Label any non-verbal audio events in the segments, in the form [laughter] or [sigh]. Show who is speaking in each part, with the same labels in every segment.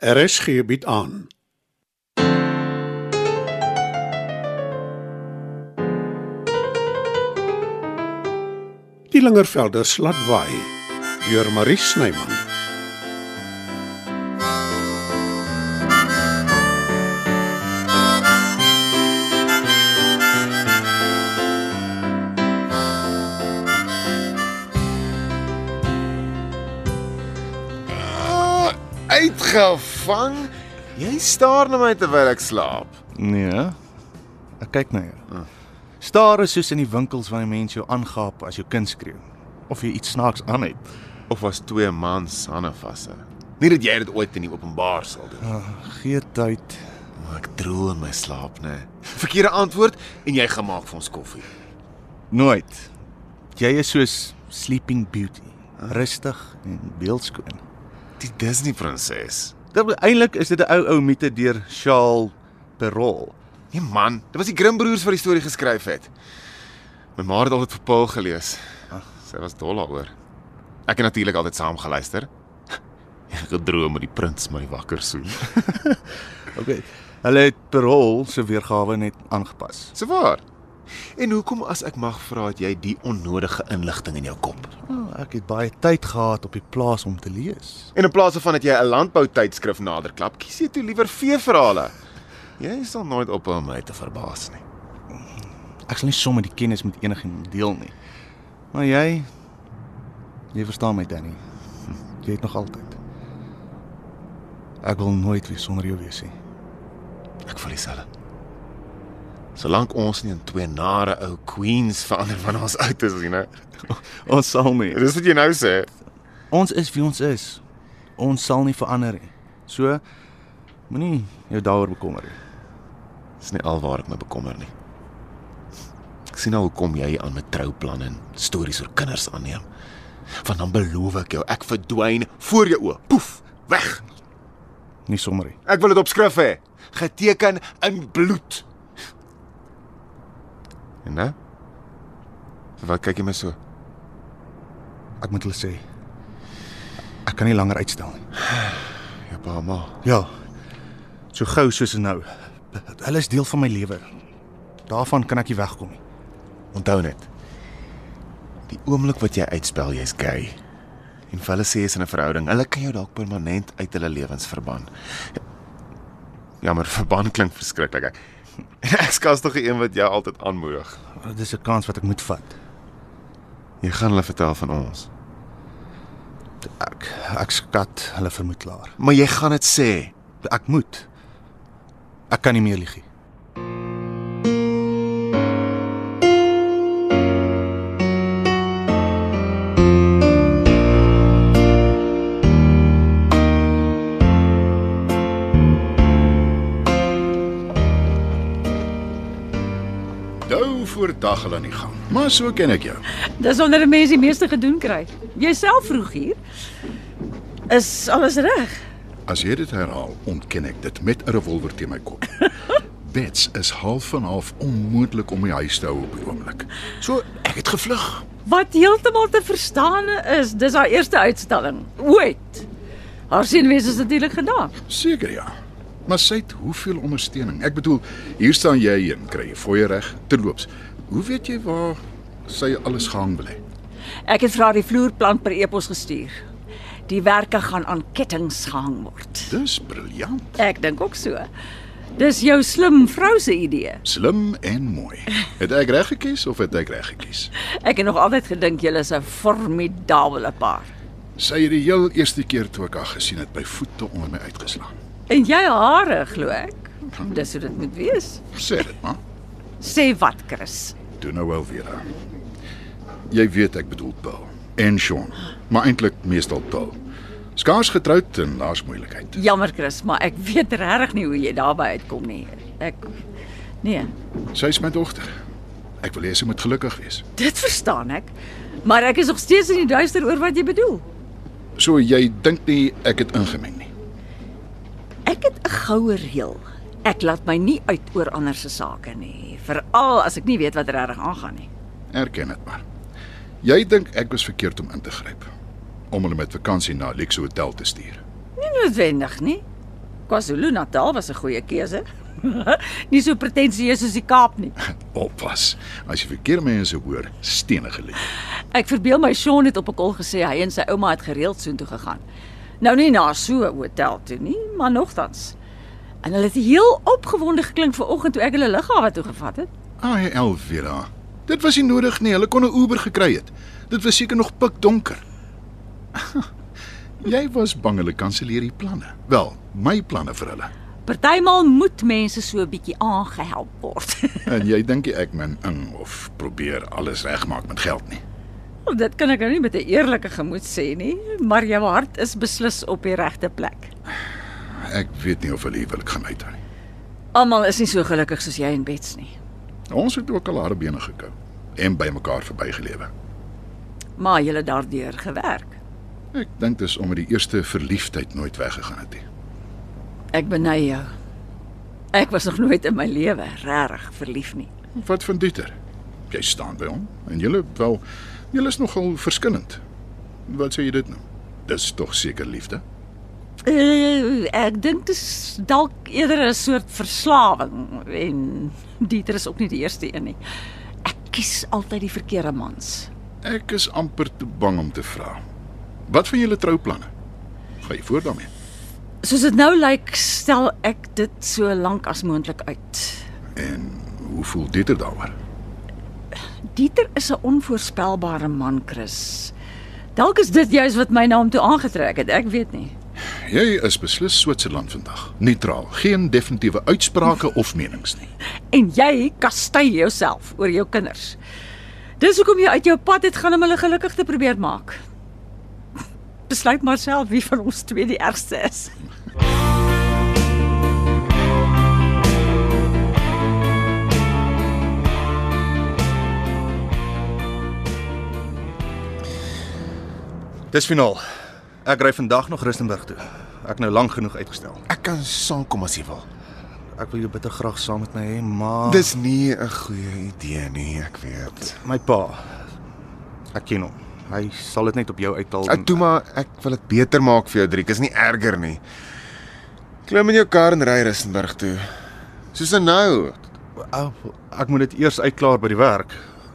Speaker 1: RSG bied aan. Die Lingervelders laat waai deur Marie Snyman.
Speaker 2: Ah, uitgevang. Jy staar na my terwyl ek slaap.
Speaker 3: Nee. Ek kyk na jou. Stare soos in die winkels waar die mense jou aangaap as jou kind skreeu of jy iets snaaks aan het.
Speaker 2: Of was twee mans hande vasse. Nie dat jy dit ooit in die openbaar sal doen.
Speaker 3: Gee tyd.
Speaker 2: Maar ek droel in my slaap, né? Verkeerde antwoord en jy gemaak vir ons koffie.
Speaker 3: Nooit. Jy is soos Sleeping Beauty, rustig en beeldskoon.
Speaker 2: Die Disney prinses.
Speaker 3: Dit eintlik is dit 'n ou ou mite deur Charles Perrault.
Speaker 2: Nee man, dit was die Grimm broers wat die storie geskryf het. My ma het altyd vir Paul gelees. Sy was dol daaroor. Ek het natuurlik altyd saam geluister. [laughs] Ek het gedroom dat die prins my wakker soen.
Speaker 3: Okay. Hulle het Perrault se weergawe net aangepas.
Speaker 2: Se waar. En hoekom as ek mag vra het jy die onnodige inligting in jou kop?
Speaker 3: Oh, ek het baie tyd gehad op die plaas om te lees.
Speaker 2: En in plaas daarvan dat jy 'n landboutydskrif naderklap, kies jy toe liewer veeverhale. Jy sal nooit ophou om my te verbaas nie.
Speaker 3: Ek sal nie sommer die kennis met enigiemand deel nie. Maar jy jy verstaan my Danny. [laughs] Jy het nog altyd. Ek wil nooit weer sonder jou wees nie.
Speaker 2: Ek voel dieselfde. Solank ons nie in twee nare ou queens verander wanneer ons oud is nie, né?
Speaker 3: Ons sal nie.
Speaker 2: Dis wat jy nou sê.
Speaker 3: Ons is wie ons is. Ons sal nie verander nie. So moenie jou daaroor bekommer nie.
Speaker 2: Dis nie alwaar ek my bekommer nie. Ek sien al hoe kom jy aan met trouplanne en stories oor kinders aanneem. Want dan beloof ek jou, ek verdwyn voor jou oë. Poef, weg.
Speaker 3: Nie sommer nie.
Speaker 2: Ek wil dit op skrif hê, geteken in bloed. En nou? Vir Wat kyk jy my so?
Speaker 3: Ek moet hulle sê. Ek kan nie langer uitstel nie.
Speaker 2: Jou pa en ma.
Speaker 3: Ja. So gou soos nou. Hulle is deel van my lewe. Daarvan kan ek nie wegkom nie.
Speaker 2: Onthou net. Die oomblik wat jy uitspel jy's gay en vir hulle sê jy's in 'n verhouding, hulle kan jou dalk permanent uit hulle lewens verban. Jammer, [laughs] verban klink verskriklik. [laughs] Ek ek's kastige een wat jou altyd aanmoedig.
Speaker 3: Dis 'n kans wat ek moet vat.
Speaker 2: Jy gaan hulle vertel van ons.
Speaker 3: Ek ek skat hulle vermoed klaar.
Speaker 2: Maar jy gaan dit sê.
Speaker 3: Ek moet. Ek kan nie meer lieg nie.
Speaker 4: Dou Nou voor dag hulle aan die gang. Maar so ken ek jou.
Speaker 5: Dis onder 'n mens die meeste gedoen kry. Jouself vroeg hier. Is alles reg?
Speaker 4: As jy dit herhaal, ontken ek dit met 'n revolver teen my [laughs] kop. Bets is half van half onmoontlik om die huis te hou op die oomblik. So, ek het gevlug.
Speaker 5: Wat heeltemal te verstaan is, dis haar eerste uitstalling ooit. Haar seunwees is natuurlik gedaan.
Speaker 4: Seker ja. Maar sy het hoeveel ondersteuning? Ek bedoel, hier staan jy en kry jy fooie reg te loops. Hoe weet jy waar sy alles gehang wil hê?
Speaker 5: Ek het vir haar die vloerplan per e-pos gestuur. Die werke gaan aan kettinge gehang word.
Speaker 4: Dis briljant,
Speaker 5: Ek dink ook so. Dis jou slim vrou se idee.
Speaker 4: slim en [laughs] mooi. Het ek reg gekies of het ek reg gekies?
Speaker 5: Ek het nog altyd gedink julle is 'n formidabele paar.
Speaker 4: Sy het die heel eerste keer toe ek haar gesien het by voete onder my uitgeslaan.
Speaker 5: En jy hare, glo ek. Dis hoe dit moet wees.
Speaker 4: Sê dit maar.
Speaker 5: Sê wat, Chris?
Speaker 4: Doen nou wel weer. Jy weet ek bedoel Paul en Sean, maar eintlik meestal Paul. Skaars getroud en daar's moeilikheid.
Speaker 5: Jammer Chris, maar ek weet regtig nie hoe jy daarby uitkom nie. Ek nee,
Speaker 4: Sy's my dogter. Ek wil hê sy moet gelukkig wees.
Speaker 5: dit verstaan ek, maar ek is nog steeds in die duister oor wat jy bedoel.
Speaker 4: So jy dink nie ek het ingemeng nie.
Speaker 5: Ek het 'n goue reël. Ek laat my nie uit oor ander se sake nie, veral as ek nie weet wat regtig aangaan nie.
Speaker 4: Erken dit maar. Jy dink ek was verkeerd om in te gryp om hulle met vakansie na 'n luxe hotel te stuur.
Speaker 5: Nie noodwendig nie. KwaZulu-Natal was 'n goeie keuse. [laughs] nie so pretensieus soos die Kaap nie.
Speaker 4: Oppas. As jy verkeerde mense hoor, stene geleer.
Speaker 5: Ek verbeel my Sean het op 'n kol gesê hy en sy ouma het gereeld soontoe gegaan. Nou nie na so 'n hotel toe nie, maar nogtans. En hulle het heel opgewonde geklink vanoggend toe ek hulle lughawe toe gevat het.
Speaker 4: Ai Elvira. Dit was nie nodig nie. Hulle kon 'n Uber gekry het. Dit was seker nog pikdonker. [laughs] jy was bang hulle kanselleer die planne. Wel, my planne vir hulle.
Speaker 5: Partymal moet mense so 'n bietjie aangehelp word. [laughs]
Speaker 4: En jy dink nie ek min ing of probeer alles regmaak met geld nie.
Speaker 5: Wel, Dit kan ek nou nie met 'n eerlike gemoed sê nie, maar jou hart is beslis op die regte plek.
Speaker 4: Ek weet nie of hulle huwelik gaan uithou nie.
Speaker 5: Almal is nie so gelukkig soos jy en Bets nie.
Speaker 4: Ons het ook al harde bene gekou en by mekaar verbygelewe.
Speaker 5: Maar jy het daardeur gewerk.
Speaker 4: Ek dink dis omdat die eerste verliefdheid nooit weggegaan het nie.
Speaker 5: Ek beny jou. Ek was nog nooit in my lewe regtig verlief nie.
Speaker 4: Wat van Dieter? Jy staan by hom en julle wel julle is nogal verskillend. Wat sê jy dit nou? Dis tog seker liefde.
Speaker 5: Uh, ek dink dit is dalk eerder 'n soort verslawing en Dieter is ook nie die eerste een nie. Ek kies altyd die verkeerde mans.
Speaker 4: Ek is amper te bang om te vra. Wat van julle trouplanne? Gaan jy voort daarmee?
Speaker 5: Soos dit nou lyk, stel ek dit so lank as moontlik uit.
Speaker 4: En hoe voel Dieter daaroor?
Speaker 5: Dieter is 'n onvoorspelbare man, Chris. Dalk is dit juis wat my na hom toe aangetrek het, ek weet nie.
Speaker 4: Jy is beslis Switserland vandag. Neutraal, geen definitiewe uitsprake of menings nie.
Speaker 5: En jy kastei jouself oor jou kinders. Dis hoekom jy uit jou pad het gaan om hulle gelukkig te probeer maak. Besluit maar self wie van ons twee die ergste is.
Speaker 3: Dis finaal. Ek ry vandag nog Rustenburg toe. Ek nou lank genoeg uitgestel.
Speaker 2: Ek kan saamkom as jy wil.
Speaker 3: Ek wil jou bitter graag saam met my hê, maar
Speaker 2: Dis nie 'n goeie idee nie, ek weet.
Speaker 3: my pa. Ek ken hom. Hy sal dit net op jou uithaal.
Speaker 2: Ek toe maar ek wil dit beter maak vir jou, Driek. Is nie erger nie. Klim in jou kar en ry Rissenburg toe. Soos en nou.
Speaker 3: Ou, ek moet dit eers uitklaar by die werk.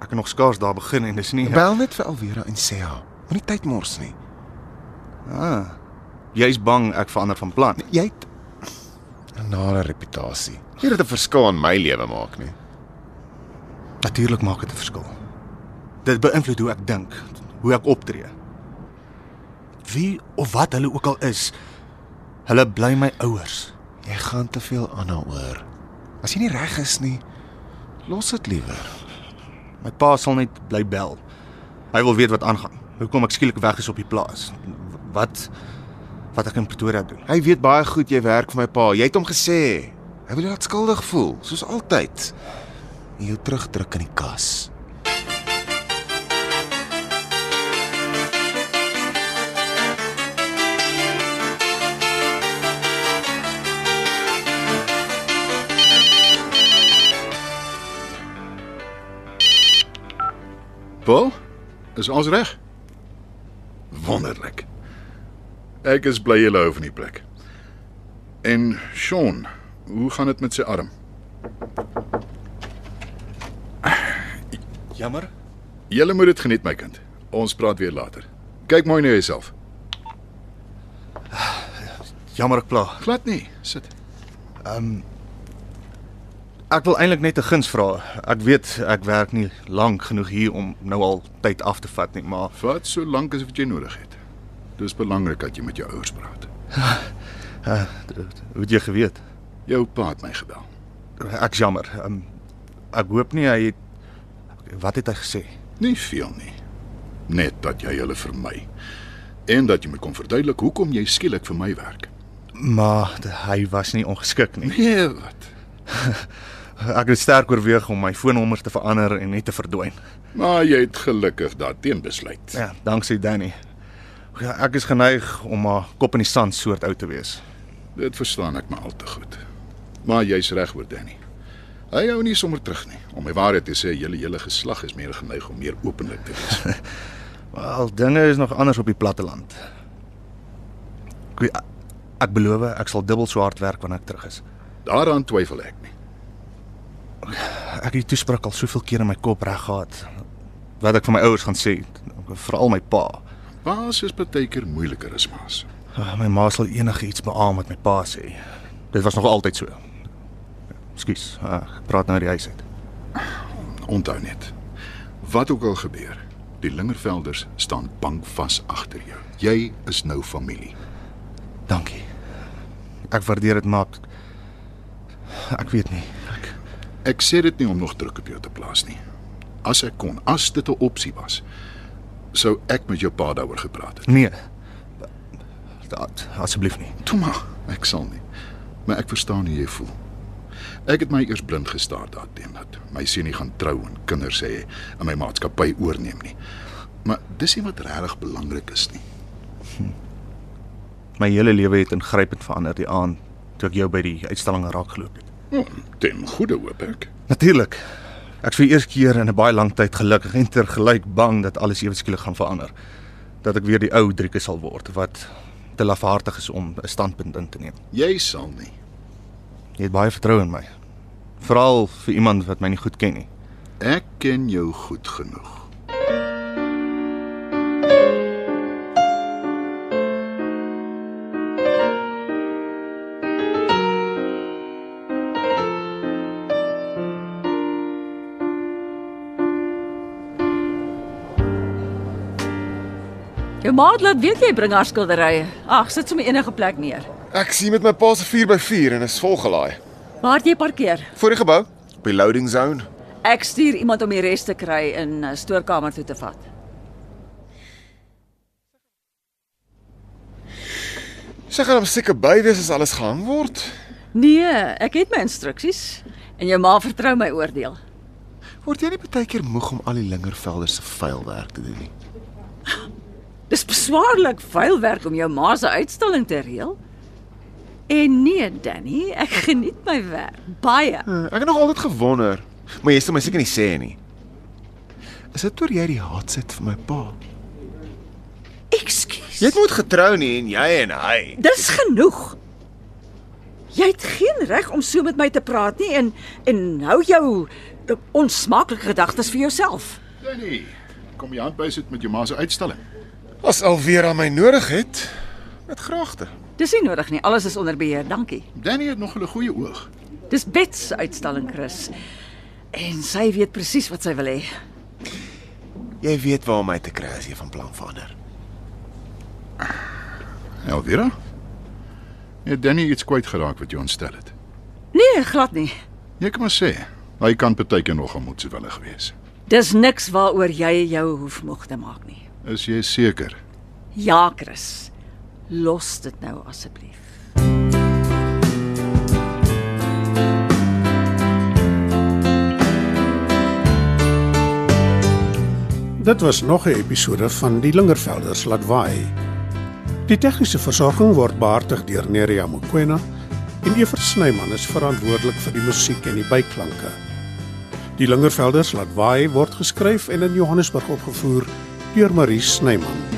Speaker 3: Ek het nog skaars daar begin en dis nie.
Speaker 2: Bel net vir Alvera en sê haar. Moenie tyd mors nie.
Speaker 3: Ah. Jy's bang ek verander van plan.
Speaker 2: Jy het 'n nare reputasie. Jy het 'n verskil in my lewe maak nie.
Speaker 3: Natuurlik maak dit 'n verskil. Dit beïnvloed hoe ek dink, hoe ek optree. Wie of wat hulle ook al is, hulle bly my ouers.
Speaker 2: Jy gaan te veel aan haar oor. As jy nie reg is nie, los dit liewer.
Speaker 3: My pa sal net bly bel. Hy wil weet wat aangaan. Hoekom ek skielik weg is op die plaas. Wat wat ek in Pretoria doen.
Speaker 2: Hy weet baie goed jy werk vir my pa. Jy het hom gesê. Hy wil jou laat skuldig voel, soos altyd. En jou terugdruk in die kas.
Speaker 4: Paul, is alles reg? Wonderlik. Ek is bly jy hou van die plek. En Sean, hoe gaan dit met sy arm?
Speaker 3: Jammer.
Speaker 4: Julle moet dit geniet my kind. Ons praat weer later. Kyk mooi na jouself.
Speaker 3: Jammer ek pla.
Speaker 4: Glad nie. Sit.
Speaker 3: Ek wil eintlik net 'n guns vra. Ek weet ek werk nie lank genoeg hier om nou al tyd af te vat nie, maar
Speaker 4: Vat so lank as wat jy nodig het. Dis belangrik dat jy met jou ouers praat.
Speaker 3: uh, hoe het jy geweet?
Speaker 4: Jou pa het my gebel.
Speaker 3: Ek jammer. Um, ek hoop nie hy het wat het hy gesê?
Speaker 4: Nie veel nie. Net dat jy hulle vermy en dat jy moet kom verduidelik hoekom jy skielik vir my werk.
Speaker 3: Maar d- hy was nie ongeskik nie.
Speaker 4: Nee, wat?
Speaker 3: Ek het sterk oorweeg om my foonnommer te verander en net te verdwyn.
Speaker 4: Maar jy het gelukkig daarteen besluit.
Speaker 3: Ja, danksy Danny. Ja, ek is geneig om 'n kop in die sand soort ou te wees.
Speaker 4: Dit verstaan ek maar al te goed. Maar jy's reg oor Danny. Hy hou nie sommer terug nie. Om my waarheid te sê, julle hele geslag is meer geneig om meer openlik te wees.
Speaker 3: Al dinge is nog anders op die platteland. Ek weet, Ek beloof ek sal dubbel so hard werk wanneer ek terug is.
Speaker 4: Daaraan twyfel ek nie.
Speaker 3: Ek het die toespraak al soveel keer in my kop reg gehad wat ek vir my ouers gaan sê, veral my pa.
Speaker 4: Paas is baie keer moeiliker as maas.
Speaker 3: Ah, My ma sal enigiets beamoen wat my pa sê. Dit was nog altyd so. Ekskuus, ah, ek praat nou uit die huis uit.
Speaker 4: Onthou net. Wat ook al gebeur, die Lingervelders staan bankvas agter jou. Jy is nou familie.
Speaker 3: Dankie. Ek waardeer dit maar ek weet nie. Ek
Speaker 4: Ek sê dit nie om nog druk op jou te plaas nie. As ek kon, as dit 'n opsie was, sou ek met jou pa daaroor gepraat het.
Speaker 3: nee. Dat asseblief nie.
Speaker 4: Toe maar, ek sal nie. Maar ek verstaan hoe jy voel. Ek het my eers blind gestaar daarteen dat my seunie gaan trou en kinders hê en my maatskappy oorneem nie. Maar dis nie wat regtig belangrik is nie.
Speaker 3: My hele lewe het ingrypend verander die aand toe ek jou by die uitstalling raak geloop het.
Speaker 4: Hm, Ten goeie hoop ek.
Speaker 3: Natuurlik. Ek is vir die eerste keer in 'n baie lang tyd gelukkig en tergelyk bang dat alles ewe skielik gaan verander. Dat ek weer die ou Driekus sal word wat te lafhartig is om 'n standpunt in te neem.
Speaker 4: Jy sal nie.
Speaker 3: Jy het baie vertroue in my. Veral vir iemand wat my nie goed ken nie.
Speaker 4: Ek ken jou goed genoeg.
Speaker 5: Jou maat laat weet jy bring haar skilderye. Ag, sit sommer enige plek neer.
Speaker 2: Ek sien met my pa se 4x4 en is volgelaai.
Speaker 5: Waar het jy parkeer?
Speaker 2: Voor die gebou, op die loading zone.
Speaker 5: Ek stuur iemand om die res te kry en eh, stoorkamer toe te vat.
Speaker 2: Sy gaan hom seker by wees as alles gehang word.
Speaker 5: Nee, ek het my instruksies en jou ma vertrou my oordeel.
Speaker 2: Word jy nie baie keer moeg om al die lingervelders se vuilwerk te doen nie?
Speaker 5: Dis beswaarlik vuil werk om jou ma se uitstalling te reël. En nee, Danny, ek geniet my werk baie.
Speaker 2: Eh, Ek het nog altyd gewonder, maar jy sal my seker nie sê nie. Is dit oor jy die haat sit vir my pa?
Speaker 5: Ekskuus.
Speaker 2: Jy het nooit getrou nie en jy en hy.
Speaker 5: Dis genoeg. Jy het geen reg om so met my te praat nie en en hou jou eh, onsmaaklike gedagtes vir jouself.
Speaker 4: Danny, kom jy aan by sit met jou ma se uitstalling?
Speaker 2: As alweer aan my nodig het, met graagte.
Speaker 5: Dis nie nodig nie, alles is onder beheer, dankie.
Speaker 4: Danny het nog 'n goeie oog.
Speaker 5: Dis Bet se uitstalling, Chris. En sy weet presies wat sy wil hê.
Speaker 2: Jy weet waar om my te kry as jy van plan verander.
Speaker 4: Elvira? Het Danny iets kwyt geraak wat jou ontstel het?
Speaker 5: Nee, glad nie.
Speaker 4: Jy kan maar sê, hy kan baie keer nogal moedswillig wees.
Speaker 5: Dis niks waaroor jy jou hoef moeg te maak nie.
Speaker 4: Is jy seker?
Speaker 5: Ja, Chris. Los dit nou asseblief.
Speaker 1: Dit was nog 'n episode van Die Lingervelders laat waai. Die tegniese versorging word behartig deur Neriya Mkwena en Evert Snyman is verantwoordelik vir die musiek en die byklanke. Die Lingervelders laat waai word geskryf en in Johannesburg opgevoer deur Marie Snyman.